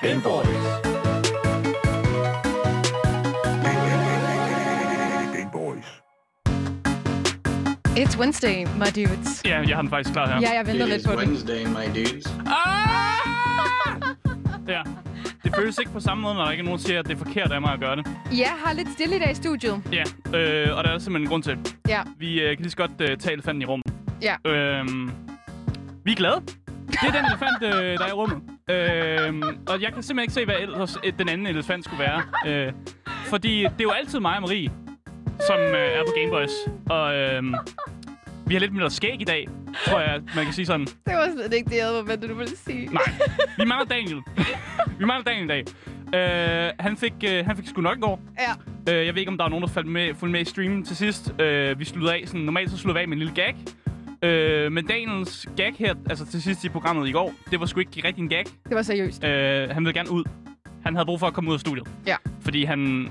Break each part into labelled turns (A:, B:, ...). A: Gameboys.
B: Game Boys.
C: It's Wednesday, my dudes.
D: Ja, jeg har den faktisk klar her.
C: Ja, jeg venter
E: It
C: lidt
E: is
C: på den.
E: Wednesday, my dudes.
D: Ah! ja. Det føles ikke på samme måde, når der ikke er nogen, der siger, at det er forkert af mig at gøre det.
C: Jeg har lidt stille i dag i studiet.
D: Ja, øh, og der er simpelthen en grund til. det.
C: Ja,
D: Vi øh, kan lige så godt øh, tage elefanten i rummet.
C: ja.
D: Øhm, vi er glade. Det er den elefant, øh, der er i rummet. Øhm, og jeg kan simpelthen ikke se, hvad ellers øh, den anden elefant skulle være. Øh, fordi det er jo altid mig og Marie, som øh, er på Gameboys. Og øh, vi har lidt mindre skæg i dag, tror jeg, man kan sige sådan.
C: Det var slet ikke det, jeg havde forventet, du ville sige.
D: Nej, vi mangler Daniel. vi mangler Daniel i dag. Øh, han, fik, øh, han fik sgu nok i går.
C: Ja.
D: Øh, jeg ved ikke, om der er nogen, der faldt med, fulgte med i streamen til sidst. Øh, vi sluttede af, sådan, normalt så slutter vi af med en lille gag. Øh, men Daniels gag her, altså til sidst i programmet i går, det var sgu ikke rigtig en gag.
C: Det var seriøst.
D: Øh, han ville gerne ud. Han havde brug for at komme ud af studiet.
C: Ja.
D: Fordi han,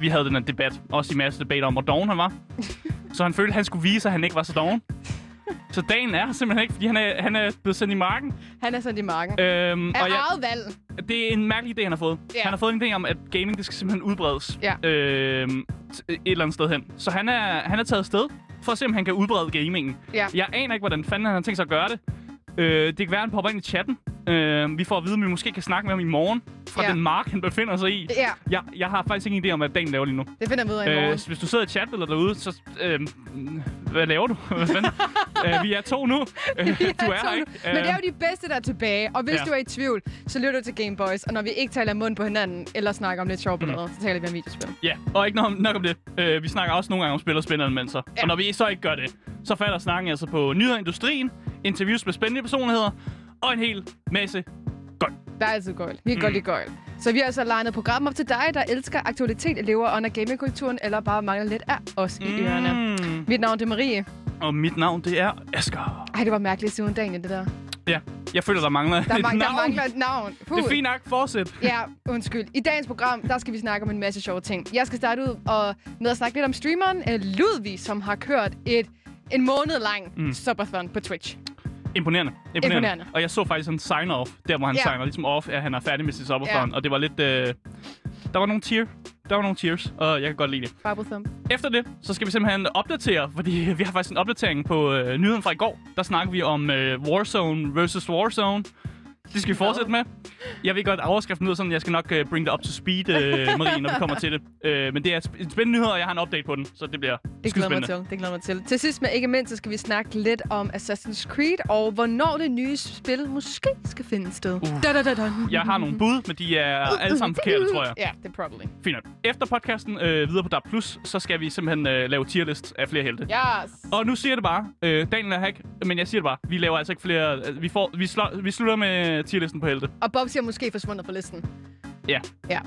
D: vi havde den her debat, også i masse debater om, hvor doven han var. så han følte, at han skulle vise, at han ikke var så doven. Så dagen er her simpelthen ikke, fordi han er, han er blevet sendt i marken.
C: Han er sådan i marken.
D: Øhm,
C: Af
D: jeg-
C: eget valg.
D: det er en mærkelig idé, han har fået.
C: Ja.
D: Yeah. Han har fået en idé om, at gaming det skal simpelthen udbredes
C: Ja.
D: øh, et eller andet sted hen. Så han er, han er taget afsted for at se, om han kan udbrede gamingen.
C: Ja.
D: Jeg aner ikke, hvordan fanden han har tænkt sig at gøre det. Øh, det kan være, han popper ind i chatten. Øh, vi får at vide, at vi måske kan snakke med ham i morgen fra
C: Ja.
D: den mark, han befinder sig i.
C: Ja,
D: Jeg, jeg har faktisk ingen idé om, hvad Dan laver lige nu.
C: det finder vi ud af i
D: Øh,
C: morgen.
D: så hvis du sidder i chatten eller derude, så... Øh, hvad laver du? Hvad fanden? øh, vi er to nu. Øh, du
C: Ja,
D: er her,
C: sådan.
D: ikke? Øh,
C: Men det er jo de bedste, der er tilbage. Og hvis
D: Ja.
C: du er i tvivl, så lytter du til Game Boys. Og når vi ikke taler mund på hinanden, eller snakker om lidt sjov på
D: Mm.
C: noget, så taler vi om videospil.
D: Ja, og ikke nok om, nok om det. Øh, vi snakker også nogle gange om spil og spilleranmeldelser. Ja.
C: Ja.
D: Og når vi så ikke gør det, så falder snakken altså på nyheder i industrien, interviews med spændende personligheder og en hel masse godt.
C: Der er altid gøjl. Vi kan
D: Mm.
C: godt lide gøjl. Så vi har altså legnet program op til dig, der elsker aktualitet, lever under gamingkulturen, eller bare mangler lidt af os mm. i ørerne.
D: Mm.
C: Mit navn det er Marie.
D: Og mit navn, det er Asger.
C: Ej, det var mærkeligt siden dagen, det der.
D: Ja, jeg føler, der mangler
C: Der,
D: et
C: mang- der
D: navn.
C: mangler et navn. Puh.
D: Det er fint nok, fortsæt.
C: Ja, undskyld. I dagens program, der skal vi snakke om en masse sjove ting. Jeg skal starte ud og med at snakke lidt om streameren øh, Ludvig, som har kørt et en måned lang mm. subathon på Twitch.
D: Imponerende. Imponerende.
C: Imponerende.
D: Og jeg så faktisk en sign-off, der hvor han
C: Ja.
D: signer ligesom off, at han er færdig med sit
C: Ja.
D: sopperfond. Og det var lidt... Øh, der var nogle tear. Der var nogle tears, og jeg kan godt lide det.
C: Bubble thumb.
D: Efter det, så skal vi simpelthen opdatere, fordi vi har faktisk en opdatering på øh, nyheden fra i går. Der snakker vi om øh, Warzone versus Warzone. Det skal vi fortsætte med. Jeg ved godt, at overskriften lyder sådan, jeg skal nok øh, bring det up to speed, øh, Marie, når vi kommer til det. Øh, men det er et sp- en spændende nyhed, og jeg har en update på den, så det bliver
C: Det glæder mig
D: skidespændende.
C: til. Det glæder mig til. Til sidst, men ikke mindst, så skal vi snakke lidt om Assassin's Creed, og hvornår det nye spil måske skal finde sted. Uh. Da, da, da, da.
D: Jeg har nogle bud, men de er alle sammen forkerte, tror jeg.
C: Ja, det er probably.
D: Fint nok. Efter podcasten øh, videre på DAB+, så skal vi simpelthen øh, lave tierlist af flere helte.
C: Yes.
D: Og nu siger jeg det bare. Øh, Daniel er hack, men jeg siger det bare. Vi laver altså ikke flere... øh, Vi, får, vi, slår, vi slutter med tierlisten på helte.
C: Og Bob siger måske forsvundet fra listen.
D: Ja.
C: Ja.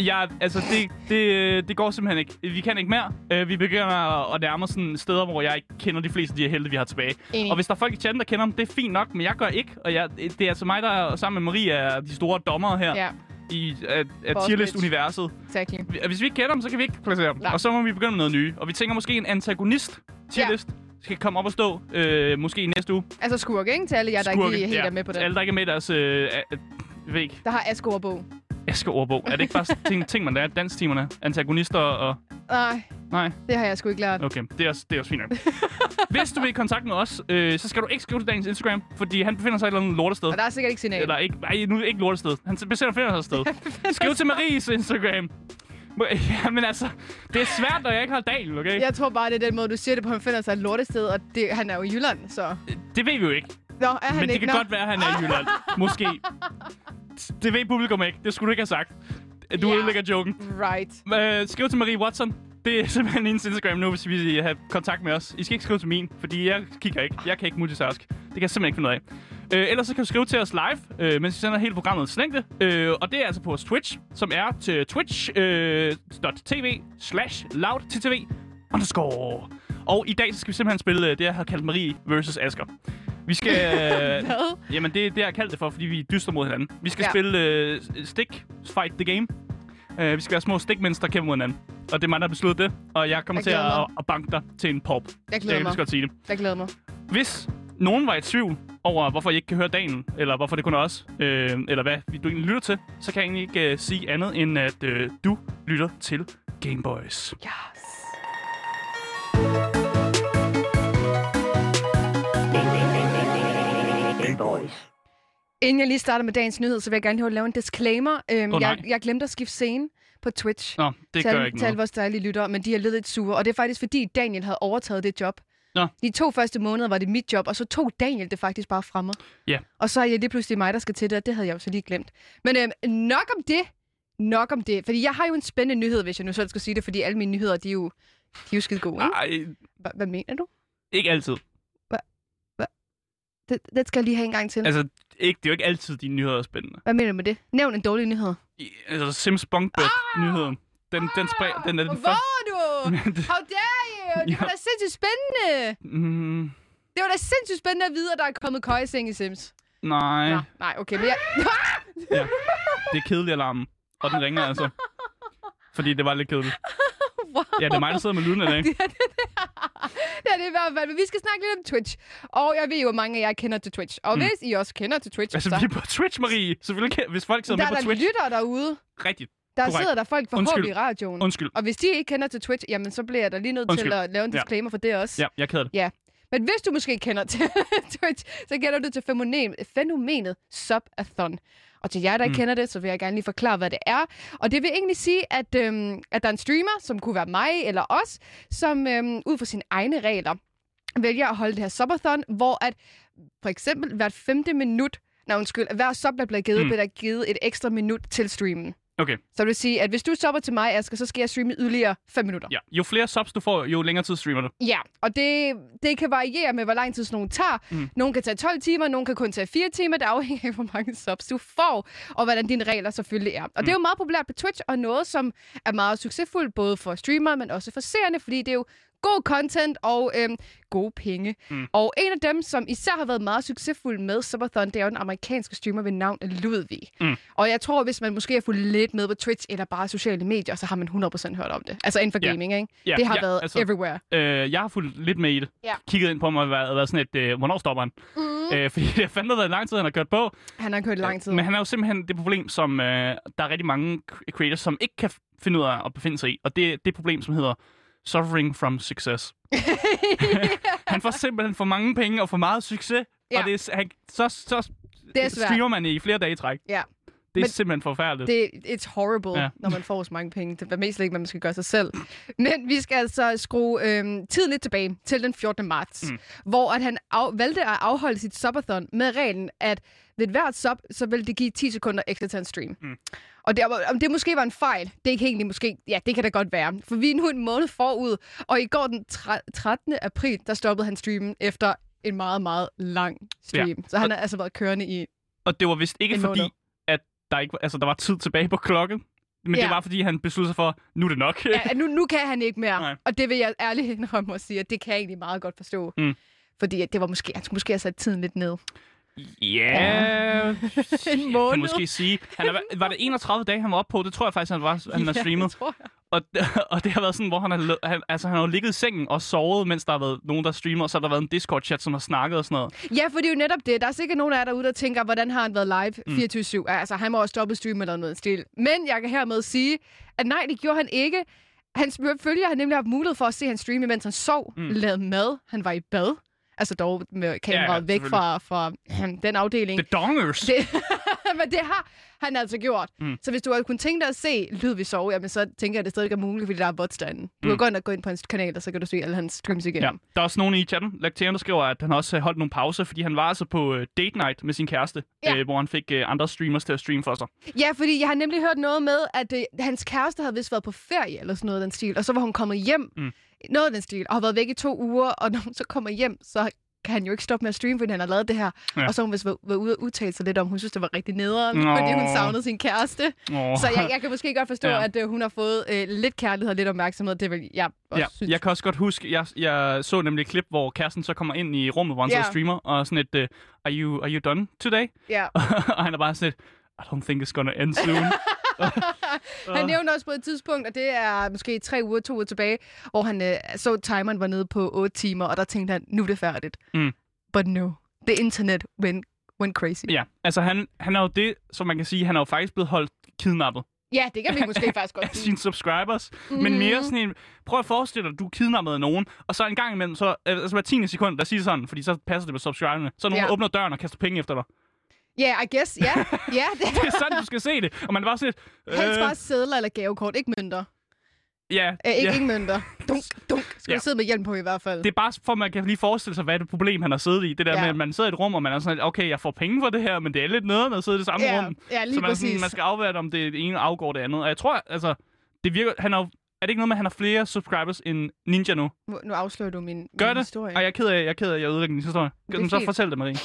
D: Ja, altså, det, det, det går simpelthen ikke. Vi kan ikke mere. Øh, vi begynder at, at nærme os sådan steder, hvor jeg ikke kender de fleste af de her helte, vi har tilbage.
C: Enig.
D: Og hvis der er folk i chatten, der kender dem, det er fint nok, men jeg gør ikke. Og jeg, det er altså mig, der sammen med Marie er de store dommere her
C: Ja,
D: i af, af
C: Boss
D: tierlist-universet.
C: exactly.
D: Hvis vi ikke kender dem, så kan vi ikke placere dem.
C: Nej.
D: Og så må vi begynde med noget nye. Og vi tænker måske en antagonist tierlist skal komme op og stå, øh, måske i næste uge.
C: Altså skurk, ikke? Til alle jer, der
D: Skurke,
C: ikke lige helt
D: ja.
C: er med på det.
D: Alle, der ikke er med i deres... Øh, øh, jeg ved ikke.
C: Der har Asko og Bo.
D: Aske ordbog. Er det ikke bare ting, ting man lærer? Danstimerne, antagonister og...
C: Nej,
D: Nej,
C: det har jeg sgu ikke lært.
D: okay. Det er også, det er også fint nok. Hvis du vil i kontakt med os, øh, så skal du ikke skrive til dagens Instagram, fordi han befinder sig et eller andet lortested.
C: Og der er sikkert ikke signal.
D: Eller ikke, nej, nu ikke lortested. Han befinder sig et sted. Skriv til Maries Instagram. Må- Ja, men altså, det er svært, når jeg ikke har dagen, okay?
C: Jeg tror bare, det er den måde, du siger det på. Han finder sig et lortested, og det, han er jo i Jylland, så...
D: Det ved vi jo ikke.
C: Nå, er han
D: Men det
C: ikke?
D: kan
C: Nå.
D: godt være, at han er i Jylland. Måske. Det ved publikum ikke. Det skulle du ikke have sagt. Du
C: Ja.
D: ødelægger joken.
C: Right.
D: Øh, skriv til Marie Watson. Det er simpelthen hendes Instagram nu, hvis vi vil have kontakt med os. I skal ikke skrive til min, fordi jeg kigger ikke. Jeg kan ikke multitask. Det kan jeg simpelthen ikke finde ud af. Øh, ellers så kan du skrive til os live, øh, mens vi sender hele programmet slængte. Øh, og det er altså på vores Twitch, som er til twitch.tv slash loudttv underscore. Og i dag så skal vi simpelthen spille øh, det, jeg har kaldt Marie versus Asker. Vi skal... Øh,
C: Hvad?
D: jamen, det er det, jeg har kaldt det for, fordi vi dyster mod hinanden. Vi skal
C: Ja.
D: ja. spille øh, Stick Fight the Game. Øh, vi skal være små stikmænd, der kæmper mod hinanden. Og det er mig, der har besluttet det. Og jeg kommer
C: Jeg
D: til at,
C: glæder mig.
D: at, at banke dig til en pop.
C: Jeg glæder
D: Jeg kan lige
C: mig.
D: så godt sige det.
C: Jeg glæder mig.
D: Hvis nogen var i tvivl over, hvorfor I ikke kan høre Daniel, eller hvorfor det kun er os, øh, eller hvad du egentlig lytter til, så kan jeg egentlig ikke øh, sige andet, end at øh, du lytter til Gameboys.
C: Yes. Inden jeg lige starter med dagens nyhed, så vil jeg gerne lige lave en disclaimer. Øhm,
D: Åh, nej.
C: jeg, jeg glemte at skifte scene på Twitch.
D: Nå, det
C: til,
D: gør
C: alle-
D: ikke
C: til alle
D: noget.
C: vores dejlige lyttere, men de har lidt lidt sure. Og det er faktisk, fordi Daniel havde overtaget det job.
D: Nå.
C: De to første måneder var det mit job, og så tog Daniel det faktisk bare fra mig.
D: Ja.
C: Og så er jeg lige pludselig mig, der skal til det, og det havde jeg jo så lige glemt. Men øhm, nok om det. Nok om det. Fordi jeg har jo en spændende nyhed, hvis jeg nu selv skal sige det, fordi alle mine nyheder, de er jo, de er jo skide gode. Ikke?
D: Nej,
C: Hva- Hvad mener du?
D: ikke altid.
C: Det, det skal jeg lige have en gang til.
D: Altså, ikke, det er jo ikke altid, dine nyheder er spændende.
C: Hvad mener du med det? Nævn en dårlig nyhed.
D: I- Altså, Sims Bunkbed nyheden Den, den, spred, den er den
C: Ah, Hvor
D: første.
C: var du? How dare you? Det var
D: Ja.
C: da sindssygt spændende.
D: Mm,
C: Det var da sindssygt spændende at vide, at der er kommet køjeseng i Sims.
D: nej,
C: Nå, nej, okay, men jeg...
D: det er kedelig alarmen. Og den ringer altså. Fordi det var lidt kedeligt.
C: wow.
D: Ja, det er mig, der sidder med lyden i dag.
C: det er det, det er det i hvert fald, men vi skal snakke lidt om Twitch. Og jeg ved jo, at mange af jer kender til Twitch. Og
D: Mm.
C: hvis I også kender til Twitch,
D: Altså,
C: så
D: vi er på Twitch, Marie. Selvfølgelig, kan- hvis folk sidder
C: der
D: med
C: er
D: på
C: der
D: Twitch.
C: lytter derude.
D: Rigtigt.
C: Der
D: Korrekt.
C: sidder der folk forhåbentlig i radioen.
D: Undskyld.
C: Og hvis de ikke kender til Twitch, jamen så bliver jeg da lige nødt
D: Undskyld.
C: til at lave en
D: Ja.
C: disclaimer for det også.
D: Ja, jeg keder det.
C: Men hvis du måske ikke kender til Twitch, så kender du til fænomen, fænomenet subathon. Og til jer, der ikke
D: Mm.
C: kender det, så vil jeg gerne lige forklare, hvad det er. Og det vil egentlig sige, at, øhm, at der er en streamer, som kunne være mig eller os, som øhm, ud fra sine egne regler vælger at holde det her subathon, hvor at for eksempel hvert femte minut, nej undskyld, hver sub, der bliver givet,
D: Mm.
C: mm. bliver der givet et ekstra minut til streamen.
D: Okay.
C: Så det vil sige, at hvis du subber til mig, Asger, så skal jeg streame yderligere 5 minutter.
D: Ja. Jo flere subs du får, jo længere tid streamer du.
C: Ja, og det, det kan variere med, hvor lang tid sådan nogle tager.
D: Mm.
C: Mm. Nogle kan tage 12 timer, nogle kan kun tage 4 timer. Det afhænger af, hvor mange subs du får, og hvordan dine regler selvfølgelig er. Og mm. det er jo meget populært på Twitch, og noget, som er meget succesfuldt, både for streamere, men også for seerne, fordi det er jo god content og øhm, gode penge.
D: Mm.
C: Mm. Og en af dem, som især har været meget succesfuld med Subathon, det er jo den amerikanske streamer ved navn Ludvig.
D: Mm.
C: Og jeg tror, hvis man måske har fulgt lidt med på Twitch eller bare sociale medier, så har man 100% hørt om det. Altså inden for
D: Ja.
C: gaming, ikke?
D: Ja,
C: det har
D: ja,
C: været
D: altså-
C: everywhere.
D: Øh, jeg har fulgt lidt med i det.
C: Ja.
D: Kigget ind på mig og været, været sådan et, øh, hvornår stopper han? Mm. Øh, fordi det har fandme været lang tid, han har kørt på.
C: Han har kørt i lang tid.
D: Men han er jo simpelthen det problem, som øh, der er rigtig mange cr- creators, som ikke kan f- finde ud af at befinde sig i. Og det er det problem, som hedder suffering from success. han får simpelthen for mange penge og for meget succes. Ja.
C: Ja.
D: Og det er, s- han, så, så
C: Det er svært.
D: streamer man i flere dage i træk.
C: Ja.
D: Det er
C: Men-
D: simpelthen forfærdeligt.
C: Det, it's horrible,
D: Ja.
C: ja. når man får så mange penge. Det er mest ikke, hvad man skal gøre sig selv. Men vi skal altså skrue øhm, tiden lidt tilbage til den 14. marts,
D: Mm.
C: mm. hvor at han af, valgte at afholde sit subathon med reglen, at ved hvert sub, så vil det give 10 sekunder ekstra til en stream.
D: Mm.
C: Mm. Og det, om det måske var en fejl, det er ikke egentlig måske. Ja, det kan da godt være. For vi er nu en måned forud, og i går den tre- 13. april, der stoppede han streamen efter en meget, meget lang stream. Ja. Så han har altså været kørende i...
D: Og det var vist ikke
C: En
D: fordi,
C: måned.
D: at der, ikke, var- altså, der var tid tilbage på klokken. Men ja.
C: Ja.
D: det var fordi, han besluttede sig for, nu er det nok.
C: ja, nu, nu kan han ikke mere.
D: Nej.
C: Nej. Og det vil jeg ærligt indrømme og sige, at det kan jeg egentlig meget godt forstå.
D: Mm.
C: Fordi at det var måske, han skulle måske have sat tiden lidt ned.
D: Ja, en måned. Kan
C: måned.
D: måske sige. Han er, var det 31 dage, han var oppe på? Det tror jeg faktisk, han, var, han har
C: Ja,
D: streamet.
C: det tror jeg.
D: Og, og det har været sådan, hvor han har, lo- han, altså, han har jo ligget i sengen og sovet, mens der har været nogen, der streamer, og så har der været en Discord-chat, som har snakket og sådan noget.
C: Ja, for det er jo netop det. Der er sikkert nogen af jer derude, der tænker, hvordan har han været live 24-7? Mm. Altså, han må også stoppe stream eller noget i den stil. Men jeg kan hermed sige, at nej, det gjorde han ikke. Hans følger har nemlig haft mulighed for at se hans stream, mens han sov,
D: Mm.
C: mm. lavede mad, han var i bad. Altså dog med kameraet
D: Ja,
C: ja,
D: ja,
C: ja, væk fra, fra hmm, den afdeling.
D: The Dongers! Det...
C: Det, men det har han altså gjort.
D: Mm.
C: Mm. Så hvis du har kunnet tænke dig at se Ludvig sove, jamen så tænker jeg, at det stadig ikke er muligt, fordi der er bots derinde. Du
D: Mm.
C: kan godt nok gå ind på hans kanal, og så kan du se alle hans streams igen.
D: Ja. Der er også nogen i chatten, Lactean, der skriver, at han også øh, holdt nogle pauser, fordi han var altså på øh, date night med sin kæreste,
C: Ja.
D: øh, hvor han fik øh, andre streamers til at streame for sig.
C: ja, fordi jeg har nemlig hørt noget med, at øh, hans kæreste havde vist været på ferie, eller sådan noget af den stil, og så var hun kommet hjem,
D: Mm.
C: mm. noget af den stil, og har været væk i to uger, og når hun så kommer hjem, så kan han jo ikke stoppe med at streame, fordi han har lavet det her.
D: Ja.
C: Ja. Og så har hun vist været, været ude og udtale sig lidt om, hun synes, det var rigtig nederen,
D: Nå.
C: fordi hun savnede sin kæreste.
D: Oh.
C: Så jeg, jeg kan måske godt forstå,
D: Ja.
C: ja. at øh, hun har fået øh, lidt kærlighed og lidt opmærksomhed. Det vil jeg også
D: Ja,
C: synes.
D: jeg kan også godt huske, jeg, jeg så nemlig et klip, hvor kæresten så kommer ind i rummet, hvor han yeah.
C: Ja.
D: så streamer, og sådan et, uh, are, you, are you done today?
C: ja.
D: og han er bare sådan et, I don't think it's gonna end soon.
C: Han nævnte også på et tidspunkt, og det er måske tre uger, to uger tilbage, hvor han øh, så, at timeren var nede på 8 timer, og der tænkte han, nu er det færdigt.
D: Mm.
C: But no, the internet went, went crazy.
D: Ja, altså han, han er jo det, som man kan sige, han er jo faktisk blevet holdt kidnappet
C: Ja, det kan vi måske faktisk
D: af
C: godt sige.
D: sine subscribers. Mm.
C: Mhm.
D: Men mere sådan en, prøv at forestille dig, du er kidnappet af nogen, og så en gang imellem, så, altså hver 10. sekund, der siger sådan, fordi så passer det med subscriberne, så er nogen,
C: Ja.
D: der åbner døren og kaster penge efter dig.
C: Ja, I guess, ja. ja det.
D: Det er sådan, du skal se det. Og man er bare sådan lidt, "Øh,
C: Helst bare sædler eller gavekort, ikke mønter.
D: ja,
C: Æ, ikke,
D: ja.
C: yeah. ikke mønter. Dunk, dunk. Skal
D: Ja.
C: yeah. sidde med hjelm på i hvert fald.
D: Det er bare for, at man kan lige forestille sig, hvad det problem, han har siddet i. Det der
C: Ja.
D: ja. med, at man sidder i et rum, og man er sådan lidt, okay, jeg får penge for det her, men det er lidt nederen at sidde i det samme
C: Ja,
D: rum.
C: ja, lige
D: så man, er
C: præcis.
D: Sådan, man skal afvære, om det ene afgår det andet. Og jeg tror, altså, det virker, han er, jo- er det ikke noget med, at han har flere subscribers end Ninja nu?
C: Nu- Nu afslører du min,
D: Gør
C: min
D: det?
C: historie.
D: Ej, jeg er ked af, jeg er ked af, at jeg ødelægger din historie.
C: er
D: Gør, så
C: fint.
D: fortæl det, Marie.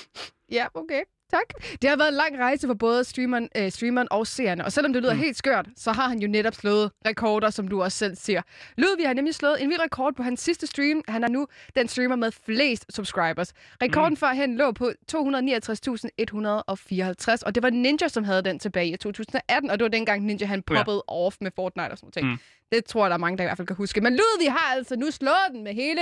C: Ja, okay. Tak. Det har været en lang rejse for både streameren, øh, streameren og seerne. Og selvom det lyder mm. helt skørt, så har han jo netop slået rekorder, som du også selv siger. Ludvig har nemlig slået en vild rekord på hans sidste stream. Han er nu den streamer med flest subscribers. Rekorden mm. førhen lå på 269.154, og det var Ninja, som havde den tilbage i 2018. Og det var dengang Ninja han
D: Ja.
C: poppede ja. off med Fortnite og sådan noget.
D: Mm.
C: Det tror jeg, der er mange, der i hvert fald kan huske. Men Ludvig har altså nu slået den med hele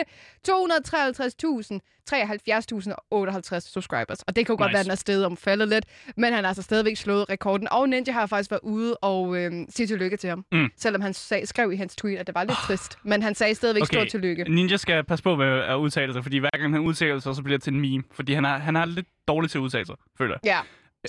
C: 253.000, 73.058 subscribers. Og det kan jo nice. godt
D: Nice.
C: være, at den er steget om faldet lidt, men han har altså stadigvæk slået rekorden. Og Ninja har faktisk været ude og øh, sige tillykke til ham.
D: Mm.
C: Selvom han sag, skrev i hans tweet, at det var
D: Ah.
C: lidt trist. Men han sagde stadigvæk okay. stort tillykke.
D: Ninja skal passe på med at udtale sig, fordi hver gang han udtaler sig, så bliver det til en meme. Fordi han er, han er lidt dårlig til at udtale sig, føler jeg.
C: Ja,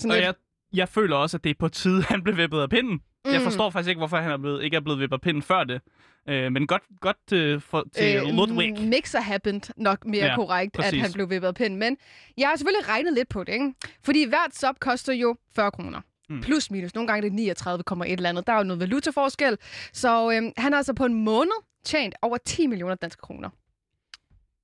D: og
C: lidt.
D: jeg, jeg føler også, at det er på tide, han blev vippet af pinden. Mm. Jeg
C: Mm.
D: forstår faktisk ikke, hvorfor han er blevet, ikke er blevet vippet af pinden før det. Øh, men godt, godt øh, for, til øh, Ludwig.
C: m- Mixer happened nok mere ja,
D: Ja,
C: korrekt, præcis. at
D: præcis.
C: han blev vippet af pinden. Men jeg har selvfølgelig regnet lidt på det, ikke? Fordi hvert sub koster jo 40 kroner. Mm.
D: Mm.
C: Plus minus. Nogle gange er det 39, komma et eller andet. Der er jo noget valutaforskel. Så øhm, han har altså på en måned tjent over 10 millioner danske kroner.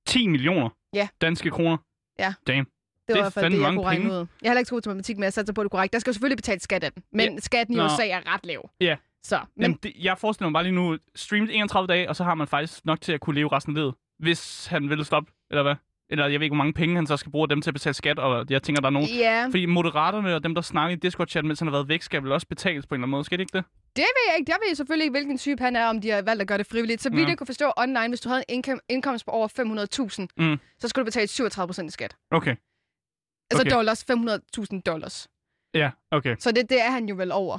D: 10 millioner
C: Ja.
D: danske kroner.
C: Det var
D: Det er
C: i hvert fald det,
D: fandme
C: jeg
D: mange
C: kunne regne
D: penge.
C: ud. Jeg har heller ikke så god til matematik, men jeg satser på, at det er korrekt. Der skal jo selvfølgelig betale skat af den. Men ja. skatten i
D: Nå.
C: USA er ret lav.
D: Ja.
C: Så, men
D: Men Jamen, det, jeg forestiller mig bare lige nu, streamet 31 dage, og så har man faktisk nok til at kunne leve resten af livet, hvis han vil stoppe, eller hvad? Eller jeg ved ikke, hvor mange penge han så skal bruge af dem til at betale skat, og jeg tænker, der er nogen...
C: ja,
D: Fordi moderaterne og dem, der snakker i Discord-chat, mens han har været væk, skal vel også betales på en eller anden måde, skal det ikke det?
C: det ved jeg ikke. Jeg ved selvfølgelig ikke, hvilken type han er, om de har valgt at gøre det frivilligt. Så vidt
D: Nå.
C: jeg kunne forstå online, hvis du havde en indkom- indkomst på over 500.000,
D: Mm.
C: så skulle du betale 37% i skat.
D: Okay.
C: Altså
D: Okay.
C: dollars, 500.000 dollars.
D: Ja, okay.
C: Så det, det er han jo vel over.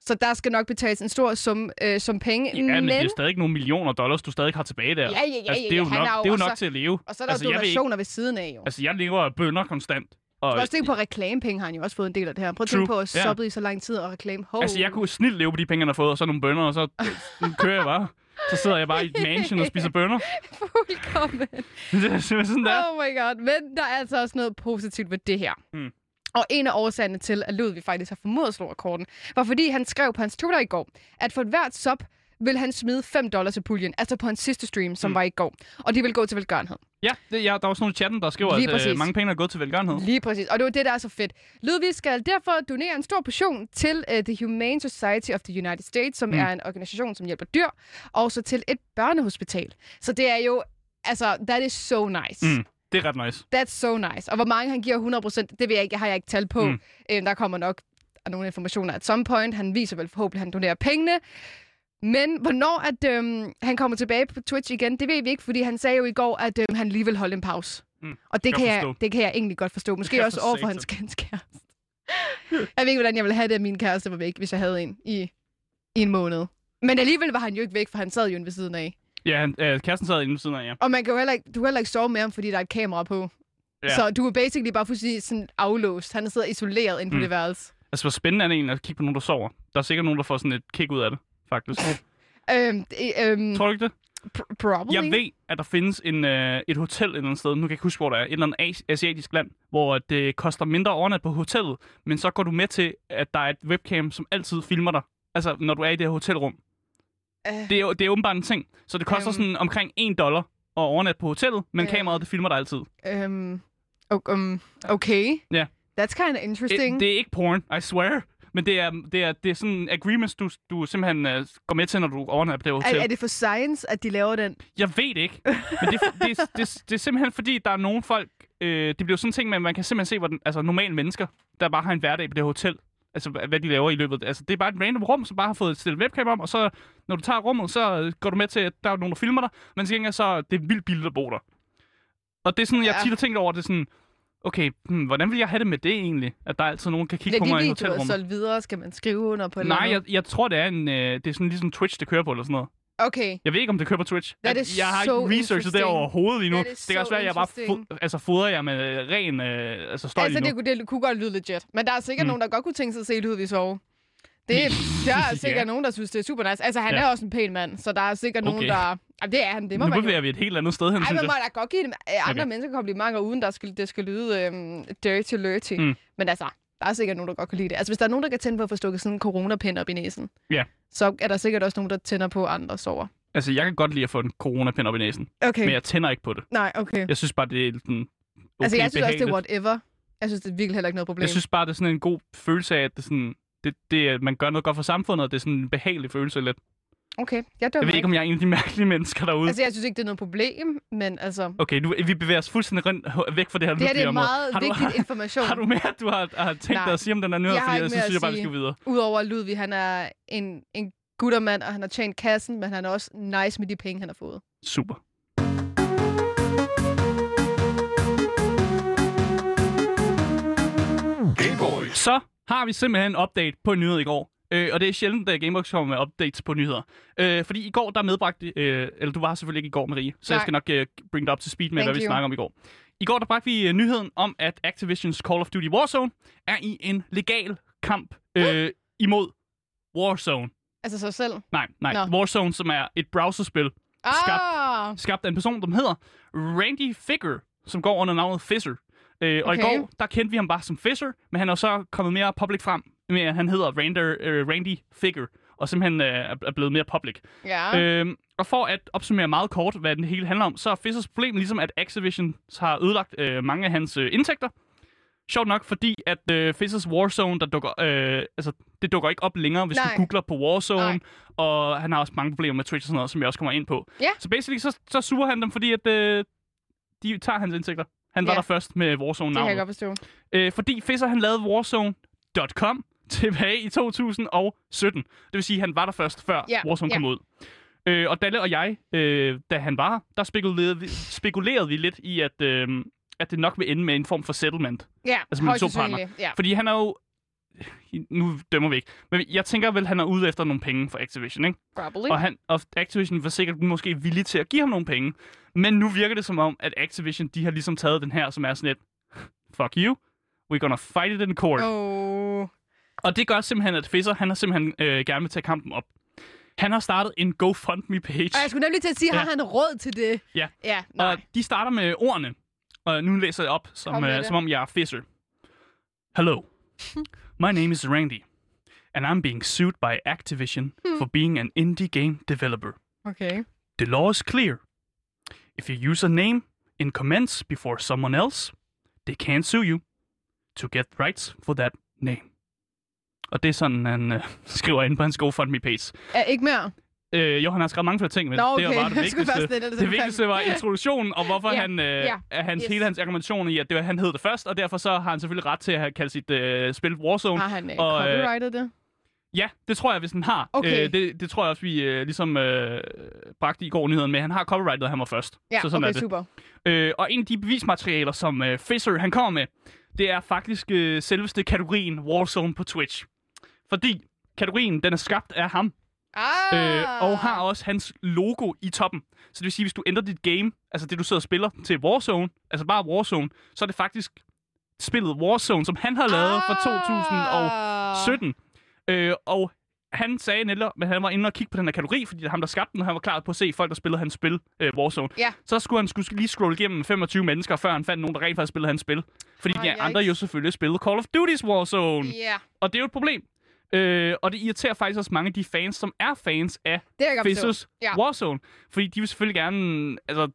C: Så der skal nok betales en stor sum, øh, som penge.
D: Ja, men, det er jo stadig nogle millioner dollars, du stadig har tilbage der.
C: Ja, ja, ja,
D: altså,
C: ja,
D: det er jo
C: ja, han
D: nok,
C: har jo
D: det er jo
C: også-
D: nok til at leve.
C: og så er der altså,
D: altså, jeg ved ikke-
C: donationer ved siden af, jo. Altså,
D: Altså, jeg lever af bønder konstant. Og,
C: også tænke på reklamepenge, har han jo også fået en del af det her. Prøv at
D: True.
C: tænke på at
D: Ja.
C: subbe i så lang tid og reklame. Ho.
D: Altså, jeg kunne snilt leve på de penge, han har fået, og så nogle bønder, og så øh, kører jeg bare. Så sidder jeg bare i et mansion og spiser bønder.
C: Fuldkommen.
D: Det er simpelthen sådan, der.
C: Oh my god. Men der er altså også noget positivt ved det her. Mm.
D: Mm.
C: Og en af årsagerne til, at Ludvig faktisk har formået at slå rekorden, var fordi han skrev på hans Twitter i går, at for hvert sub vil han smide 5 dollars i puljen, altså på hans sidste stream, som mm. var i går. Og det vil gå til velgørenhed.
D: Ja, det, ja, der var også nogle i chatten, der skriver,
C: Lige
D: at øh,
C: præcis.
D: mange penge er gået til velgørenhed.
C: Lige præcis. Og det var det, der er så fedt. Ludvig skal derfor donere en stor portion til uh, The Humane Society of the United States, som mm.
D: Mm.
C: er en organisation, som hjælper dyr, og så til et børnehospital. Så det er jo, altså, that is so nice.
D: Mm. Det er ret nice.
C: That's so nice. Og hvor mange han giver 100%, det ved jeg ikke, har jeg ikke tal på. Mm.
D: Mm.
C: Øhm, der kommer nok nogle informationer at some point. Han viser vel forhåbentlig, at han donerer pengene. Men hvornår at, øhm, han kommer tilbage på Twitch igen, det ved vi ikke, fordi han sagde jo i går, at øhm, han lige vil holde en pause.
D: Mm.
C: Og det
D: Godt
C: kan, jeg,
D: forstå.
C: det kan jeg egentlig godt forstå. Måske
D: Ja, for
C: også over for hans, hans kæreste. jeg ved ikke, hvordan jeg ville have det, at min kæreste var væk, hvis jeg havde en i, i en måned. Men alligevel var han jo ikke væk, for han sad jo inde ved siden af.
D: Ja, han, øh, Kirsten sad inde ved siden af, ja.
C: Og man kan jo heller ikke, du kan heller ikke sove med ham, fordi der er et kamera på. Ja.
D: Ja.
C: Så du er basically bare fuldstændig sådan aflåst. Han sidder isoleret inde på mm.
D: Mm.
C: det værelse.
D: Altså, hvor spændende er det egentlig at kigge på nogen, der sover? Der er sikkert nogen, der får sådan et kick ud af det, faktisk.
C: Øhm, det, øhm,
D: Tror du ikke det?
C: pr- probably.
D: Jeg ved, at der findes en, øh, et hotel et eller andet sted, nu kan jeg ikke huske, hvor det er, et eller andet as- asiatisk land, hvor det koster mindre overnat på hotellet, men så går du med til, at der er et webcam, som altid filmer dig. Altså, når du er i det her hotelrum.
C: Øh,
D: Det er, jo- det er åbenbart en ting. Så det koster
C: Øhm.
D: sådan omkring 1 dollar at overnatte på hotellet, men
C: Ja.
D: kameraet, det filmer dig altid.
C: øhm, o- um, okay.
D: Ja.
C: That's kind of interesting.
D: Det, det er ikke porn, I swear. Men det er, det er, det er sådan agreements, du, du simpelthen uh, går med til, når du overnatter på det hotel.
C: er, er det for science, at de laver den?
D: Jeg ved det ikke. Men det, er- det, er- det, er- det er simpelthen fordi, der er nogle folk... Øh, det bliver sådan en ting, men man kan simpelthen se, hvordan altså, normale mennesker, der bare har en hverdag på det hotel, altså hva- hvad de laver i løbet. Altså, det er bare et random rum, som bare har fået stillet webcam om, og så når øh, du tager rummet, så øh, går du med til, at der er nogen, der filmer dig, men til gengæld så er det vildt billigt at bo der. Og det er sådan, jeg
C: Ja.
D: tit har tænkt over, det er sådan, okay, hmm, hvordan vil jeg have det med det egentlig? At der er altid nogen, der kan kigge
C: Bliver
D: på
C: de
D: mig i
C: videoer
D: hotelrummet.
C: solgt videre? Skal man skrive under på et eller
D: Nej,
C: andet?
D: jeg, jeg tror, det er, en, øh, det er sådan ligesom Twitch, det kører på eller sådan noget.
C: Okay.
D: Jeg ved ikke, om det kører på Twitch.
C: That
D: At-
C: is
D: jeg har
C: so
D: ikke researchet det
C: interesting.
D: overhovedet endnu.
C: That is
D: Det kan
C: so
D: også være, at jeg bare fod,
C: interesting.
D: altså, fodrer jer med øh, ren øh, altså, støj
C: altså,
D: lige
C: det,
D: nu.
C: kunne- det kunne godt lyde legit. Men der er sikkert mm.
D: Mm.
C: nogen, der godt kunne tænke sig at se det ud, vi sove. Det, der er sikkert
D: Ja.
C: nogen, der synes, det er super nice. Altså, han
D: Ja.
C: er også en pæn mand, så der er sikkert okay.
D: Okay.
C: nogen, der... Jamen, det er han, det må
D: Nu
C: man jo-
D: bevæger vi et helt andet sted hen,
C: Ej,
D: synes
C: man må
D: jeg.
C: da godt give dem øh, andre
D: Okay.
C: okay. mennesker komplimenter, uden der skal, det skal lyde øhm, dirty lurty.
D: Mm.
C: Mm. Men altså, der er sikkert nogen, der godt kan lide det. Altså, hvis der er nogen, der kan tænde på at få stukket sådan en coronapind op i næsen,
D: Ja.
C: så er der sikkert også nogen, der tænder på at andre sover.
D: Altså, jeg kan godt lide at få en coronapind op i næsen,
C: Okay.
D: men jeg tænder ikke på det.
C: Nej, okay.
D: Jeg synes bare, det er sådan okay,
C: altså, jeg synes også, det
D: behageligt.
C: er whatever. Jeg synes, det er virkelig heller ikke noget problem.
D: Jeg synes bare, det er sådan en god følelse af, at det er sådan, det, det, er- man gør noget godt for samfundet, og det er sådan en behagelig følelse lidt.
C: Okay, jeg
D: Jeg
C: dømmer
D: ved ikke, om jeg er en af de mærkelige mennesker derude.
C: Altså, jeg synes ikke, det er noget problem, men altså...
D: Okay, nu, vi bevæger os fuldstændig rent væk fra det her
C: Det her det
D: lykkelige
C: er
D: område.
C: meget
D: har du,
C: vigtig information.
D: Har du mere, du har, har tænkt
C: Nej.
D: dig at sige om den her nyhed?
C: Jeg har
D: Fordi
C: ikke
D: jeg
C: mere
D: synes,
C: at
D: jeg bare, vi
C: sige.
D: skal videre.
C: Udover at Ludvig, han er en, en guttermand, og han har tjent kassen, men han er også nice med de penge, han har fået.
D: Super. Så har vi simpelthen en update på en nyhed i går. Øh, og det er sjældent, at Gamebox kommer med updates på nyheder. Øh, fordi i går, der medbragte... Øh, eller du var her selvfølgelig ikke i går, Marie, så jeg
C: Nej.
D: skal nok øh, bring dig up to speed med,
C: Thank
D: hvad vi
C: you.
D: snakker om i går. I går, der bragte vi øh, nyheden om, at Activisions Call of Duty Warzone er i en legal kamp øh, imod Warzone.
C: Altså sig selv.
D: Nej, nej.
C: Nå.
D: Warzone, som er et browserspil, Skabt.
C: Ah!
D: skabt af en person, der hedder Randy Figger, som går under navnet Fisher. Øh, og i
C: Okay.
D: går, der kendte vi ham bare som Fisher, men han er jo så kommet mere public frem med, at han hedder Rander, øh, Randy Figger, og simpelthen øh, er- er blevet mere public.
C: Ja. Øh.
D: Øhm, og for at opsummere meget kort, hvad den hele handler om, så er Fissers problem ligesom, at Activision har ødelagt øh, mange af hans øh, indtægter. Sjovt nok, fordi at øh, Fissers Warzone, der dukker, øh, altså, det dukker ikke op længere, hvis Nej.
C: Nej.
D: du googler på Warzone,
C: Nej.
D: og han har også mange problemer med Twitch og sådan noget, som jeg også kommer ind på.
C: Ja.
D: Så basically, så, så suger han dem, fordi at, øh, de tager hans indtægter. Han var
C: Ja.
D: der først med
C: Det kan jeg
D: Warzone-navnet.
C: godt forstå.
D: Øh, fordi Fisser, han lavede Warzone.com tilbage i 2017. Det vil sige, han var der først, før
C: Ja,
D: Warzone kom ud. Øh, og Dalle og jeg, øh, da han var her, der spekulerede vi, spekulerede vi lidt i, at, øh, at det nok vil ende med en form for settlement.
C: Ja,
D: Altså, man er
C: højst
D: to partner.
C: sandsynligt, Ja.
D: Fordi han er jo... Nu dømmer vi ikke. Men jeg tænker vel, han er ude efter nogle penge fra Activision, ikke?
C: Probably.
D: Og, han, og Activision var sikkert måske villig til at give ham nogle penge. Men nu virker det som om, at Activision, de har ligesom taget den her, som er sådan et, fuck you, we're gonna fight it in court. Oh.
C: Oh.
D: Og det gør simpelthen, at Fisser, han har simpelthen øh, gerne vil tage kampen op. Han har startet en GoFundMe-page,
C: Og jeg skulle nemlig til at sige,
D: Ja.
C: har han råd til det?
D: Ja.
C: Ja, nej.
D: og de starter med ordene. Og nu læser jeg op, som,
C: Kom med
D: øh,
C: det.
D: som om jeg er Fisser. Hello, my name is Randy, and I'm being sued by Activision
C: Hmm.
D: for being an indie game developer.
C: Okay.
D: The law is clear. If you use a name in comments before someone else, they can't sue you to get rights for that name. Og det er sådan, han øh, skriver ind på hans GoFundMe-page.
C: Er ikke mere?
D: Øh, jo, han har skrevet mange flere ting, men
C: Nå,
D: det
C: okay.
D: var bare det
C: Jeg skulle
D: vigtigste.
C: først lidt, altså,
D: det vigtigste var introduktionen, og hvorfor
C: Ja,
D: han, øh,
C: ja,
D: at hans,
C: yes.
D: hele hans argumentation i, at det var, han hed det først, og derfor så har han selvfølgelig ret til at have kaldt sit øh, spil Warzone.
C: Har han øh,
D: og, øh,
C: copyrighted det?
D: Ja, det tror jeg, hvis han har.
C: Okay.
D: Øh, det, det tror jeg også, vi øh, ligesom øh, bragte i går nyheden med. Han har copyrightet, og han var først.
C: Ja,
D: så sådan
C: okay,
D: er det.
C: super.
D: Øh, og en af de bevismaterialer, som øh, Fisher han kommer med, det er faktisk øh, selveste kategorien Warzone på Twitch. Fordi kategorien, den er skabt af ham,
C: Ah.
D: øh, og har også hans logo i toppen. Så det vil sige, hvis du ændrer dit game, altså det du sidder og spiller, til Warzone, altså bare Warzone, så er det faktisk spillet Warzone, som han har lavet ah. fra 2017. Øh, og han sagde netop, at han var inde og kigge på den her kategori, fordi det er ham, der skabte den, og han var klar på at se folk, der spillede hans spil, øh, Warzone.
C: Ja.
D: Så skulle han skulle lige scrolle igennem 25 mennesker, før han fandt nogen, der rent faktisk spillede hans spil. Fordi
C: Ah,
D: de
C: yikes.
D: andre jo selvfølgelig spillede Call of Duty's Warzone.
C: Ja,
D: Og det er jo et problem. Øh, og det irriterer faktisk også mange af de fans, som er fans af
C: det er jeg godt forstå.
D: Festus ja.
C: Ja.
D: Warzone. Fordi de vil selvfølgelig gerne altså,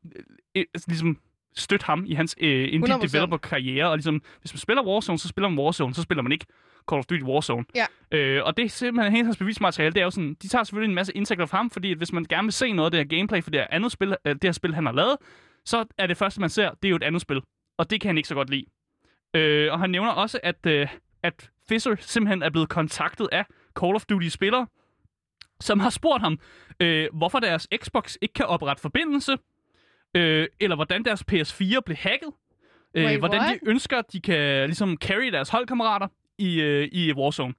D: øh, altså, ligesom støtte ham i hans øh, indie
C: 100%.
D: developer karriere. Og ligesom, hvis man spiller Warzone, så spiller man Warzone, så spiller man ikke Call of Duty Warzone.
C: Ja.
D: Øh, og det er simpelthen hele hans bevismateriale. Det er jo sådan, de tager selvfølgelig en masse indtægter fra ham, fordi at hvis man gerne vil se noget af det her gameplay for det her, andet spil, øh, det her spil, han har lavet, så er det første, man ser, det er jo et andet spil. Og det kan han ikke så godt lide. Øh, og han nævner også, at, øh, at Fisher simpelthen er blevet kontaktet af Call of Duty-spillere, som har spurgt ham, øh, hvorfor deres Xbox ikke kan oprette forbindelse, øh, eller hvordan deres PS4 blev hacket, øh,
C: Wait,
D: hvordan
C: what?
D: de ønsker, at de kan ligesom carry deres holdkammerater i, øh, i Warzone.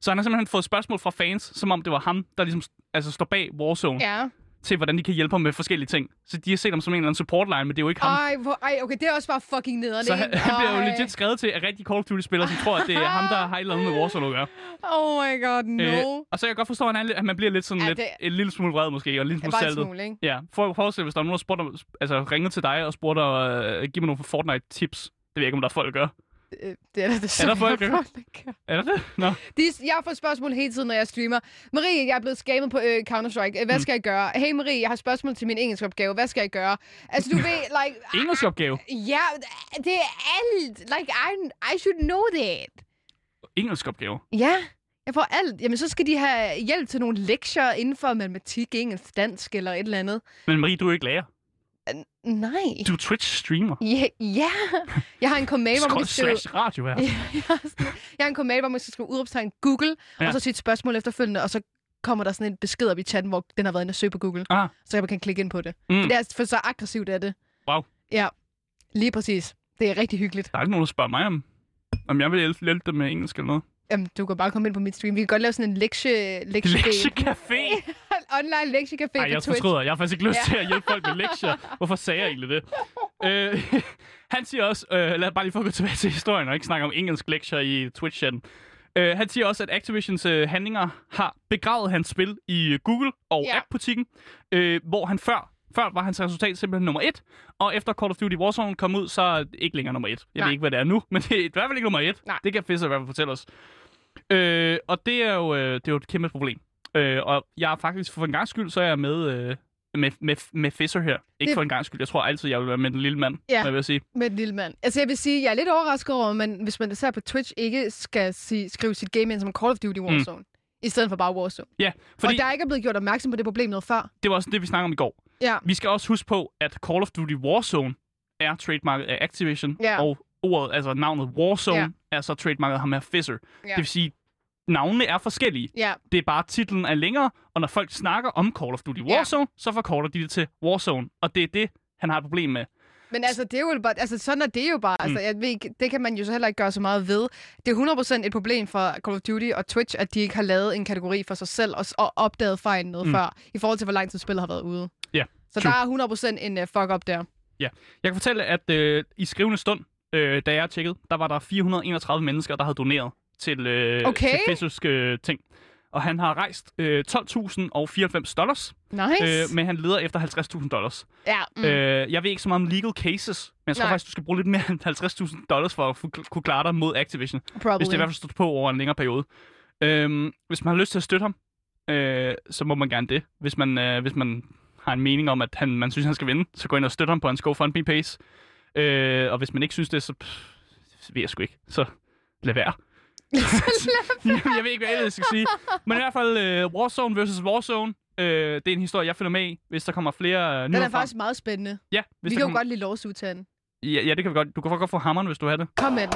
D: Så han har simpelthen fået spørgsmål fra fans, som om det var ham, der ligesom altså, står bag Warzone, ja.
C: Ja.
D: til hvordan de kan hjælpe ham med forskellige ting. Så de har set ham som en eller anden support line, men det er jo ikke ham.
C: Ej, hvor, ej, okay, det er også bare fucking nederen.
D: Så han,
C: ikke?
D: han bliver jo
C: Ej.
D: legit skrevet til af rigtig Call of Duty-spillere, som tror, at det er ham, der har et eller andet med Warzone at gøre.
C: Oh my god,
D: Øh,
C: no.
D: og så kan jeg godt forstå, at, han er, lidt- at man bliver lidt sådan
C: Ja,
D: ja, lidt,
C: det-
D: det... en lille smule vred måske, og en lille
C: Øh,
D: smule
C: bare en
D: saltet.
C: smule, ikke?
D: Ja, for at forestille, hvis der er nogen, der spurgte, om- altså ringer til dig og spurgte, uh, giv mig nogle Fortnite-tips. Det ved jeg ikke, om der er folk, der gør.
C: Øh, Det er der desværre
D: der folk, der gør?
C: gør.
D: Er der det? Nå.
C: De, jeg får spørgsmål hele tiden, når jeg streamer. Marie, jeg er blevet skamet på øh, Counter-Strike.
D: Mm.
C: Øh, Hvad skal jeg gøre? Hey Marie, jeg har spørgsmål til min engelskopgave. Hvad skal jeg gøre? Altså, du ved, like...
D: Engelsk opgave.
C: Ja, det er alt. Like, I, I should know that.
D: Engelsk opgave.
C: Ja, jeg får alt. Jamen, så skal de have hjælp til nogle lektier inden for matematik, engelsk, dansk eller et eller andet.
D: Men Marie, du er jo ikke lærer.
C: Nej.
D: Du er Twitch-streamer.
C: Ja, ja. Jeg har en kommentar, hvor man
D: Skrål
C: kan skrive...
D: slash radio her.
C: Ja, jeg har sådan- jeg har en kommentar, hvor man skal skrive udråbstegn Google, ja.
D: Ja.
C: og så sit spørgsmål efterfølgende, og så kommer der sådan en besked op i chatten, hvor den har været inde og søge på Google.
D: Ah.
C: Så jeg kan klikke ind på det.
D: Mm.
C: Det er altså- for så aggressivt er det.
D: Wow.
C: Ja, lige præcis. Det er rigtig hyggeligt.
D: Der er ikke nogen, der spørger mig om, om jeg vil hjælpe, hjælpe dem med engelsk eller noget.
C: Jamen, du kan bare komme ind på mit stream. Vi kan godt lave sådan en lektie... lektie
D: Lektiecafé!
C: Online lektiecafé
D: Nej,
C: på
D: jeg
C: Twitch.
D: fortryder. Jeg har faktisk ikke lyst
C: Ja.
D: til at hjælpe folk med lektier. Hvorfor sagde jeg egentlig det? Øh, han siger også, øh, lad os bare lige få gå tilbage til historien og ikke snakke om engelsk lektier i Twitch-chatten. Øh, han siger også, at Activisions øh, handlinger har begravet hans spil i øh, Google og
C: Ja.
D: app-butikken, øh, hvor han før, før var hans resultat simpelthen nummer et, og efter Call of Duty Warzone kom ud, så er det ikke længere nummer et. Jeg
C: Nej.
D: ved ikke, hvad det er nu, men det er i hvert fald ikke nummer et.
C: Nej.
D: Det kan Fisser i hvert fald fortælle os. Øh, og det er, jo, øh, det er jo et kæmpe problem. Øh, og jeg er faktisk, for en gang skyld, så er jeg med, øh, med, med, med Fisser her. Ikke
C: Det-
D: det... for en gang skyld. Jeg tror altid, jeg vil være med den lille mand,
C: Ja.
D: hvad vil jeg sige.
C: Med en lille mand. Altså, jeg vil sige, jeg er lidt overrasket over, men hvis man især på Twitch ikke skal sige, skrive sit game ind som Call of Duty Warzone, mm. i stedet for bare Warzone.
D: Ja,
C: Fordi...
D: fordi
C: Og der ikke er blevet gjort opmærksom på det problem noget før.
D: det var også det, vi snakkede om i går.
C: Ja.
D: Vi skal også huske på, at Call of Duty Warzone er trademarket af Activision,
C: Ja.
D: og ordet, altså navnet Warzone,
C: Ja.
D: er så trademarket af ham her Fisser.
C: Ja.
D: Det vil sige, navnene er forskellige.
C: Ja,
D: Det er bare, titlen er længere, og når folk snakker om Call of Duty
C: Ja.
D: Warzone, så forkorter de det til Warzone, og det er det, han har et problem med.
C: men altså, det er jo bare, altså, sådan er det jo bare.
D: Mm.
C: Altså, jeg ved ikke, det kan man jo så heller ikke gøre så meget ved. Det er 100% et problem for Call of Duty og Twitch, at de ikke har lavet en kategori for sig selv og, s- og opdaget fejlen noget mm.
D: Mm.
C: før, i forhold til, hvor lang tid spillet har været ude.
D: Ja,
C: Så
D: true.
C: der er 100% en uh, fuck-up der.
D: Jeg kan fortælle, at øh, i skrivende stund, øh, da jeg tjekkede, der var der 431 mennesker, der havde doneret til, øh,
C: Okay.
D: til fysisk øh, ting. Og han har rejst øh, 12.094 dollars,
C: Nice.
D: øh, men han leder efter 50.000 dollars.
C: ja,
D: Mm. Øh, jeg ved ikke så meget om legal cases, men jeg tror
C: Nej.
D: faktisk, du skal bruge lidt mere end 50.000 dollars for at fu- kunne klare dig mod Activision.
C: probably.
D: Hvis det i hvert fald står på over en længere periode. Øhm, hvis man har lyst til at støtte ham, øh, så må man gerne det. Hvis man, øh, hvis man har en mening om, at han, man synes, han skal vinde, så gå ind og støtte ham på hans GoFundMe page. Øh, og hvis man ikke synes det, så pff, så ved jeg sgu ikke. Så lad være. Jamen, jeg ved ikke, hvad jeg ellers skal sige. Men i hvert fald øh, Warzone versus Warzone. Øh, det er en historie, jeg følger med i, hvis der kommer flere øh,
C: Den
D: nyheder
C: er
D: frem.
C: faktisk meget spændende.
D: Ja,
C: Vi
D: hvis
C: kan
D: der
C: jo
D: kommer...
C: godt lide lawsuit til den.
D: ja, ja, det kan vi godt. Du kan godt få hammeren, hvis du har det.
C: Kom med den.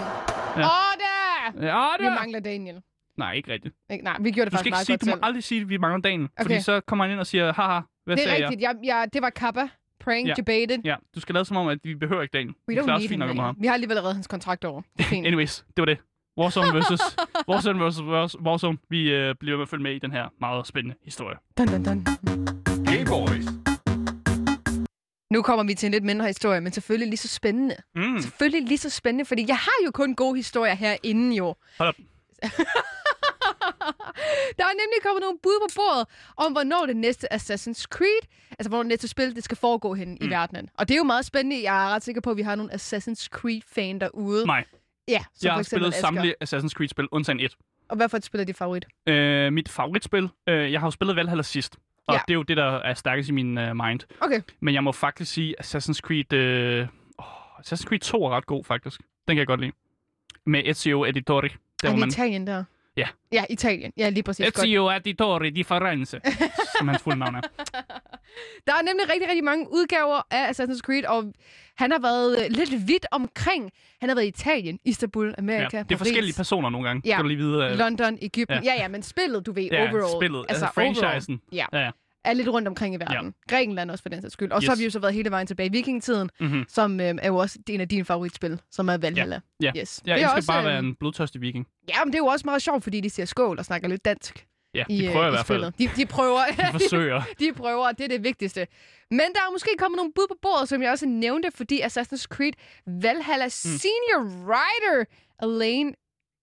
D: Ja.
C: Åh, oh, der!
D: Ja,
C: Vi
D: det er...
C: mangler Daniel.
D: Nej, ikke rigtigt.
C: Ikke, nej, vi gjorde det
D: Du
C: faktisk
D: skal ikke
C: meget
D: sige,
C: godt
D: du må
C: selv.
D: aldrig sige, at vi mangler dagen. Okay.
C: Okay.
D: Fordi så kommer han ind og siger, haha, hvad
C: Det er
D: sagde
C: rigtigt. Jeg, jeg, det var Kappa. Prank, ja.
D: Ja.
C: debated.
D: jeg? Ja, du skal lade som om, at vi behøver ikke dagen.
C: We
D: det
C: don't
D: klarer os
C: need
D: fint
C: him.
D: nok med
C: længere.
D: ham.
C: Vi har alligevel reddet hans kontrakt over. Det er fint.
D: Anyways, det var det. Warzone versus Warzone versus War- Warzone. Vi øh, bliver med at følge med i den her meget spændende historie.
C: Dun, dun, dun.
A: Gay Boys.
C: Nu kommer vi til en lidt mindre historie, men selvfølgelig lige så spændende.
D: Mm.
C: Selvfølgelig lige så spændende, fordi jeg har jo kun gode historier herinde jo.
D: Hold op.
C: Der er nemlig kommet nogle bud på bordet om, hvornår det næste Assassin's Creed, altså hvornår det næste spil, det skal foregå henne
D: Hmm.
C: mm. i verdenen. Og det er jo meget spændende. Jeg er ret sikker på, at vi har nogle Assassin's Creed-fan derude.
D: Nej,
C: Ja, som
D: jeg
C: for
D: har
C: eksempel
D: spillet
C: Asger.
D: samtlige Assassin's Creed-spil, undtagen et.
C: Og hvad for et spil er dit favorit?
D: Øh, mit favoritspil, øh, jeg har jo spillet Valhalla sidst. Og
C: Ja.
D: det er jo det, der er stærkest i min øh, mind.
C: Okay.
D: Men jeg må faktisk sige, Assassin's Creed... Øh, oh, Assassin's Creed 2 er ret god, faktisk. Den kan jeg godt lide. Med Ezio Auditore.
C: er
D: hvor
C: det Italien der?
D: Ja.
C: Ja, Italien. Ja, lige præcis. Godt.
D: Ezio Auditore di Firenze, som hans fulde navn er.
C: Der er nemlig rigtig, rigtig mange udgaver af Assassin's Creed, og han har været øh, lidt vidt omkring. Han har været i Italien, Istanbul,
D: Ja.
C: Amerika,
D: Det er forskellige personer nogle gange.
C: Ja.
D: Ja. Kan du lige vide? øh,
C: London, Egypten. Ja. ja, men spillet, du ved,
D: ja,
C: overall.
D: spillet, altså,
C: overall.
D: franchisen.
C: Ja.
D: Ja, ja.
C: er lidt rundt omkring i verden. Ja. Grækenland også for den sags skyld. Og yes. så har
D: Yes.
C: vi jo så været hele vejen tilbage i vikingetiden,
D: Mhm.
C: som øh, er jo også en af dine favoritspil, som er Valhalla. Yes.
D: Jeg
C: det er
D: elsker
C: også,
D: bare at
C: øh,
D: være en blodtørstig viking.
C: Ja, men det er jo også meget sjovt, fordi de siger skål og snakker lidt dansk. øh,
D: Ja, de prøver i hvert fald.
C: spillet. De, de prøver.
D: De forsøger.
C: de prøver, og det er det vigtigste. Men der er måske kommet nogle bud på bordet, som jeg også nævnte, fordi Assassin's Creed Valhalla mm. Senior Writer Elaine...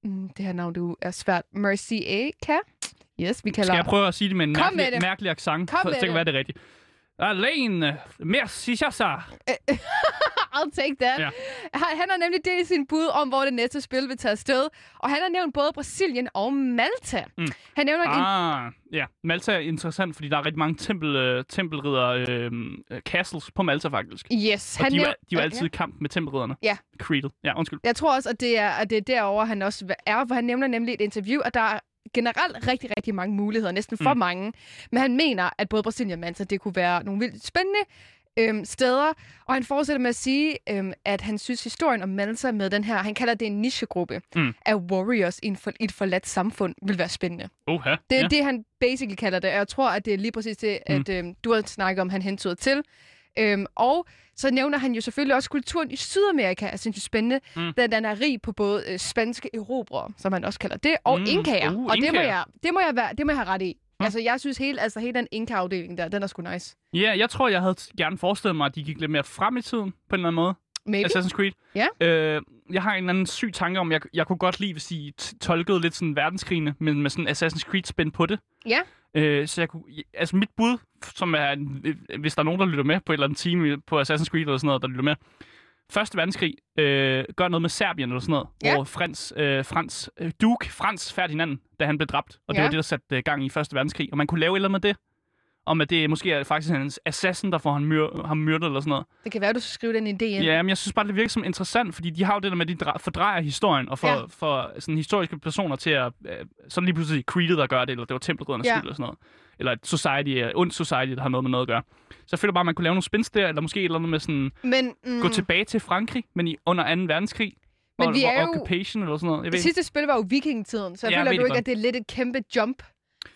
C: Mm, det her navn, du er svært. Mercier. Yes, vi kalder...
D: Skal jeg prøve at sige det med en
C: Kom
D: mærkelig,
C: med det.
D: mærkelig accent?
C: Kom
D: så
C: med
D: det kan
C: det.
D: være det er rigtigt. Alene. Merci, Shasa.
C: I'll take that.
D: Ja.
C: Han han har nemlig delt sin bud om, hvor det næste spil vil tage afsted. Og han har nævnt både Brasilien og Malta.
D: Mm.
C: Han nævner ah. en
D: Ah, ja. Malta er interessant, fordi der er rigtig mange tempel, øh, tempelridder øh, øh, castles på Malta, faktisk.
C: Yes,
D: Og
C: han
D: de, er,
C: nævner...
D: jo- de er jo
C: Ja,
D: altid i kamp med tempelridderne.
C: Ja.
D: Creedle. Ja, undskyld.
C: Jeg tror også, at det er, at det er derovre, han også er, for han nævner nemlig et interview, at der er generelt rigtig, rigtig mange muligheder, næsten for
D: Mm.
C: mange. Men han mener, at både Brasilien og Malta, det kunne være nogle vildt spændende øhm, steder. Og han fortsætter med at sige, øhm, at han synes, historien om Malta med den her, han kalder det en nichegruppe
D: Mm.
C: af warriors i, en for, i et forladt samfund, vil være spændende.
D: Oha.
C: Det er
D: ja.
C: ja. det, han basically kalder det, og jeg tror, at det er lige præcis det,
D: Mm.
C: at øhm, du har snakket om, han hentyder til. Øhm, og så nævner han jo selvfølgelig også kulturen i Sydamerika, er sindssygt spændende,
D: Mm.
C: mm. da den er rig på både øh, spanske erobrere, som han også kalder det, og
D: Mm.
C: mm. inkaer.
D: Uh,
C: og det må,
D: inkaer.
C: jeg, det, må jeg være, det må jeg have ret i. Mm. Altså, jeg synes hele, altså, hele den inka-afdeling der, den er sgu nice.
D: Ja, jeg tror, jeg havde gerne forestillet mig, at de gik lidt mere frem i tiden, på en eller anden måde.
C: Maybe. Altså,
D: Assassin's Creed.
C: Ja.
D: Øh, jeg har en eller anden syg tanke om, jeg, jeg kunne godt lide, hvis I t- tolkede lidt sådan verdenskrigene, men med sådan Assassin's Creed spændt på det.
C: Ja.
D: Øh, så jeg kunne, altså mit bud, som er, en- øh, hvis der er nogen, der lytter med på et eller andet team på Assassin's Creed eller sådan noget, der lytter med. Første verdenskrig, øh, gør noget med Serbien eller sådan noget,
C: Ja.
D: hvor Frans, øh, Frans, øh, Duke Frans Ferdinand, da han blev dræbt, og det
C: Ja.
D: var det, der satte øh, gang i Første Verdenskrig, og man kunne lave et eller andet med det, om at det måske er faktisk hans assassin, der får ham, myr- ham myrdet eller sådan noget.
C: det kan være, du skal skrive den idé ind.
D: Ja, men jeg synes bare, det virker som interessant, fordi de har jo det der med, at de dra- fordrejer historien, og får, ja.
C: Ja.
D: får sådan historiske personer til at... Øh, sådan lige pludselig Creed'et, der gør det, eller det var Tempelriddernes ja.
C: Ja.
D: skyld, eller sådan noget. Eller et society, øh, ondt society, der har noget med noget at gøre. Så jeg føler bare, at man kunne lave nogle spins der, eller måske et eller andet med sådan... Mm.
C: Men mm,
D: Gå tilbage til Frankrig, men i, under 2. verdenskrig.
C: Men
D: og,
C: vi
D: hvor
C: er jo-
D: Occupation, eller sådan noget. Jeg ved,
C: det
D: ikke.
C: sidste spil var jo vikingetiden, så jeg
D: Ja,
C: ja,
D: jeg ved
C: føler du
D: det
C: ikke,
D: godt.
C: at det er lidt et kæmpe jump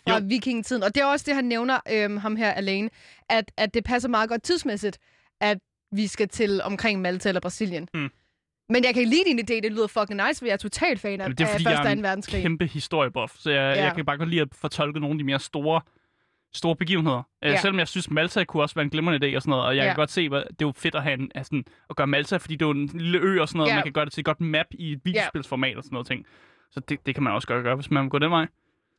C: fra
D: Jo.
C: vikingetiden? Og det er også det, han nævner, øhm, ham her alene, at, at det passer meget godt tidsmæssigt, at vi skal til omkring Malta eller Brasilien.
D: Mm.
C: Men jeg kan lide din idé, det lyder fucking nice, for jeg er total fan af,
D: Jamen, det er,
C: af
D: fordi
C: Første
D: jeg
C: og
D: er
C: 2.
D: en
C: verdenskrig.
D: kæmpe historiebuff, så jeg, ja.
C: Ja.
D: jeg kan bare godt lide at fortolke nogle af de mere store, store begivenheder. Ja.
C: Ja.
D: Selvom jeg synes, Malta kunne også være en glimrende idé og sådan noget, og jeg ja.
C: Ja.
D: kan godt se, hvad, det er jo fedt at, have en, altså, sådan, at gøre Malta, fordi det er jo en lille ø og sådan noget, ja.
C: Ja.
D: man kan gøre det til et godt map i et videospilsformat og sådan noget ting. Så det, det kan man også godt gøre, hvis man vil gå den vej.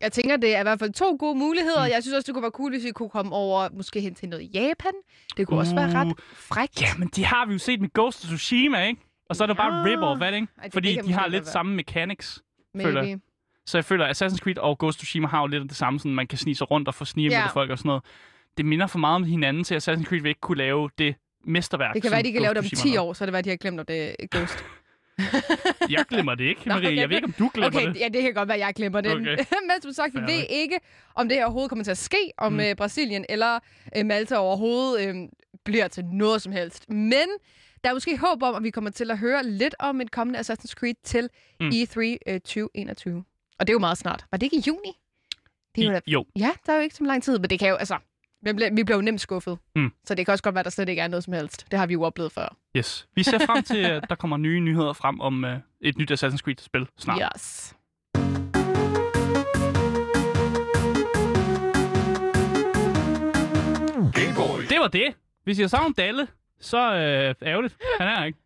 C: Jeg tænker, det er i hvert fald to gode muligheder.
D: Mm.
C: Jeg synes også, det kunne være cool, hvis vi kunne komme over måske hen til noget Japan. Det kunne uh. også være
D: Uh.
C: ret frækt.
D: Ja, men de har vi jo set med Ghost of Tsushima, ikke? Og så er det ja. bare
C: Ja.
D: rip-off, er det, ikke?
C: Ej, det-
D: fordi
C: det kan
D: de har
C: måske
D: lidt
C: godt
D: samme mechanics. føler jeg.
C: Maybe.
D: Så jeg føler, at Assassin's Creed og Ghost of Tsushima har jo lidt af det samme, sådan man kan snige sig rundt og få snige
C: Ja.
D: yeah. folk og sådan noget. Det minder for meget om hinanden til, at Assassin's Creed vil ikke kunne lave det mesterværk.
C: Det kan være, de kan lave det om 10
D: år.
C: år, så er det være, de har glemt, om det er Ghost.
D: Jeg glemmer det ikke,
C: Nå,
D: Marie. Jeg
C: okay.
D: ved ikke, om du glemmer
C: Okay,
D: det.
C: ja, det kan godt være, at jeg glemmer den.
D: Okay.
C: Okay. Men som sagt, vi
D: Fair
C: ved
D: nok.
C: ikke, om det her overhovedet kommer til at ske, om
D: Mm.
C: mm. øh, Brasilien eller øh, Malta overhovedet øh, bliver til noget som helst. Men der er måske håb om, at vi kommer til at høre lidt om et kommende Assassin's Creed til
D: Mm.
C: mm. E3 øh, 2021. Og det er jo meget snart. Var det ikke i juni? Det er jo, da-
D: I, jo,
C: ja, der er jo ikke så lang tid, men det kan jo, altså, vi bliver, vi bliver jo nemt skuffet.
D: Mm.
C: Så det kan også godt være, at der slet ikke er noget som helst. Det har vi jo oplevet før.
D: yes. Vi ser frem til, at der kommer nye nyheder frem om uh, et nyt Assassin's Creed-spil snart. Yeah.
C: Yes.
D: Det var det. Hvis jeg savner Dalle, så uh, ærgerligt. Han er her ikke.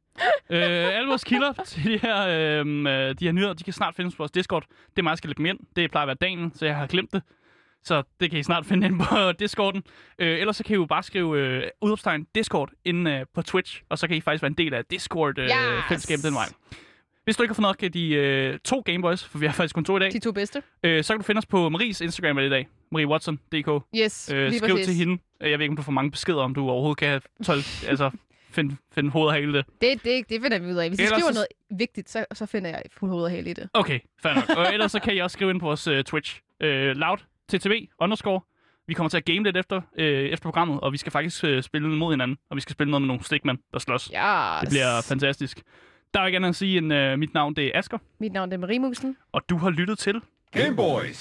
D: uh, alle vores kilder til de her, uh, de her nyheder, de kan snart findes på vores Discord. Det er mig, der skal lægge dem ind. Det plejer at være dagen, så jeg har glemt det. Så det kan I snart finde ind på Discorden. Øh, ellers så kan I jo bare skrive øh, udopstegn Discord inde øh, på Twitch, og så kan I faktisk være en del af Discord-fællesskabet øh,
C: Yes.
D: fællesskabet den vej. Hvis du ikke har fået nok af de øh, to Gameboys, for vi har faktisk kun to i dag,
C: De to bedste.
D: øh, så kan du finde os på Maries Instagram i dag. Marie Watson, DK. Øh,
C: Yes, lige
D: skriv
C: præcis.
D: til hende. Øh, Jeg ved ikke, om du får mange beskeder, om du overhovedet kan tolke, altså, finde find hovedet af hele det.
C: Det, det, det finder vi ud af. Hvis I
D: Ellers
C: skriver
D: så-
C: noget vigtigt, så, så finder jeg hovedet helt i det.
D: Okay, fair nok. Og ellers så kan I også skrive ind på vores øh, Twitch. Øh, loud, ttv, underscore. Vi kommer til at game lidt efter, øh, efter programmet, og vi skal faktisk øh, spille mod hinanden. Og vi skal spille noget med nogle stikmænd, der slås. Yes.
C: Ja.
D: Det bliver fantastisk. Der er jo ikke andet at sige end, øh, mit navn det er Asker,
C: Mit navn er Marie Musen.
D: og du har lyttet til
A: Game Boys.